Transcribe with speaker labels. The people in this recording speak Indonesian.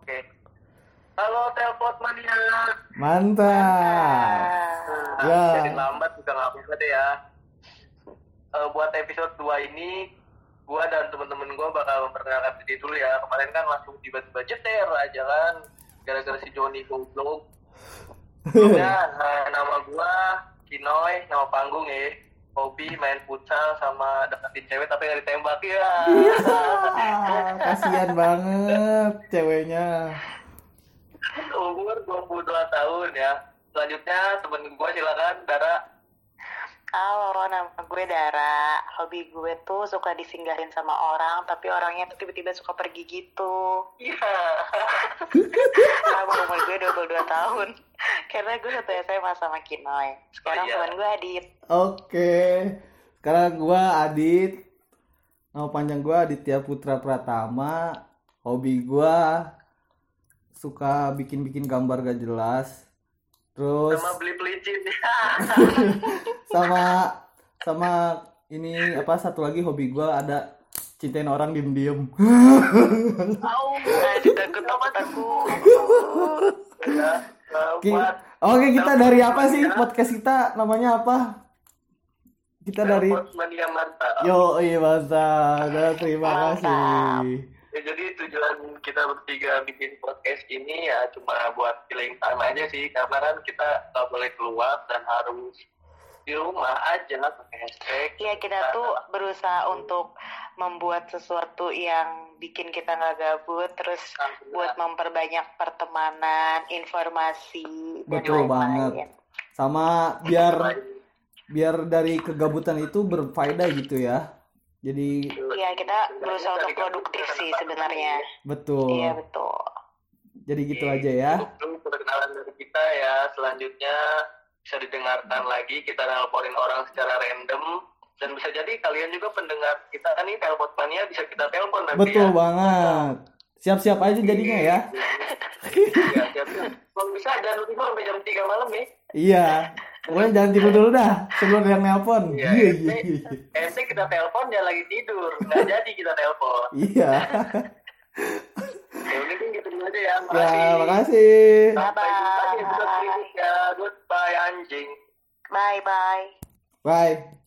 Speaker 1: oke. Halo Telpot Mania.
Speaker 2: Mantap.
Speaker 1: Hmm,
Speaker 2: Ah. Ya.
Speaker 1: Jadi lambat juga nggak apa-apa deh ya. Eh, buat episode 2 ini, gua dan temen-temen gua bakal memperkenalkan diri dulu ya. Kemarin kan langsung tiba-tiba jeter aja kan, gara-gara si Joni goblok. Ya, eh, nama gua Kinoy, nama panggung ya. Hobi main futsal sama deketin cewek tapi nggak ditembak ya.
Speaker 2: Ah, Kasihan banget ceweknya.
Speaker 1: Umur 22 tahun ya. Selanjutnya temen gua silakan Dara.
Speaker 3: Halo, nama gue Dara. Hobi gue tuh suka disinggahin sama orang, tapi orangnya tuh tiba-tiba suka pergi gitu.
Speaker 1: Iya.
Speaker 3: Sama umur gue 22 tahun. Karena gue satu SMA sama Kinoy.
Speaker 1: Oh,
Speaker 3: Sekarang
Speaker 1: iya.
Speaker 3: teman gue Adit.
Speaker 2: Oke. Sekarang gua Adit. Nama panjang gua Aditya Putra Pratama. Hobi gua suka bikin-bikin gambar gak jelas. Terus
Speaker 1: Sama Nah, beli pelicin.
Speaker 2: sama sama ini apa satu lagi hobi gua ada cintain orang diem-diem.
Speaker 3: Oh, Adit takut, takut, takut.
Speaker 1: ya. eh,
Speaker 2: Oke.
Speaker 1: buat
Speaker 2: Oke, kita dari apa sih podcast kita namanya apa? Kita dari
Speaker 1: Telepon mania mantap.
Speaker 2: Yo, iya mantap. Nah, terima kasih.
Speaker 1: Ya, jadi tujuan kita bertiga bikin podcast ini ya cuma buat killing time aja sih karena kan kita nggak boleh keluar dan harus di rumah aja pakai hashtag
Speaker 3: Iya, kita tuh berusaha untuk membuat sesuatu yang bikin kita nggak gabut, terus buat memperbanyak pertemanan, informasi, dan
Speaker 2: Betul banget.
Speaker 3: lain-lain.
Speaker 2: Sama biar biar dari kegabutan itu berfaedah gitu ya. Jadi
Speaker 3: Iya, kita berusaha untuk produktif sih sebenarnya.
Speaker 2: betul.
Speaker 3: Iya, betul.
Speaker 2: Jadi gitu aja ya.
Speaker 1: Iya, Itu perkenalan dari kita ya. Selanjutnya bisa didengarkan lagi. Kita nelponin orang secara random. Dan bisa jadi kalian juga pendengar kita kan ini telepon mania bisa kita telepon nanti
Speaker 2: Betul
Speaker 1: ya.
Speaker 2: banget. Siap-siap aja jadinya ya.
Speaker 1: Iya, siap-siap. Kalau bisa jangan lupa sampai jam 3 malam nih.
Speaker 2: Iya. Pokoknya jangan tidur dulu dah sebelum ada yang nelpon.
Speaker 1: Iya,
Speaker 2: Iya,
Speaker 1: ente,
Speaker 2: iya, iya.
Speaker 1: ente kita telepon dia lagi tidur. Nggak jadi kita telepon.
Speaker 2: Iya.
Speaker 1: Ya udah kan gitu dulu aja ya.
Speaker 2: Ya,
Speaker 1: Makasih.
Speaker 2: makasih.
Speaker 1: Sampai jumpa di episode
Speaker 3: Bye-bye.
Speaker 1: berikutnya. Goodbye anjing.
Speaker 3: Bye-bye.
Speaker 2: Bye.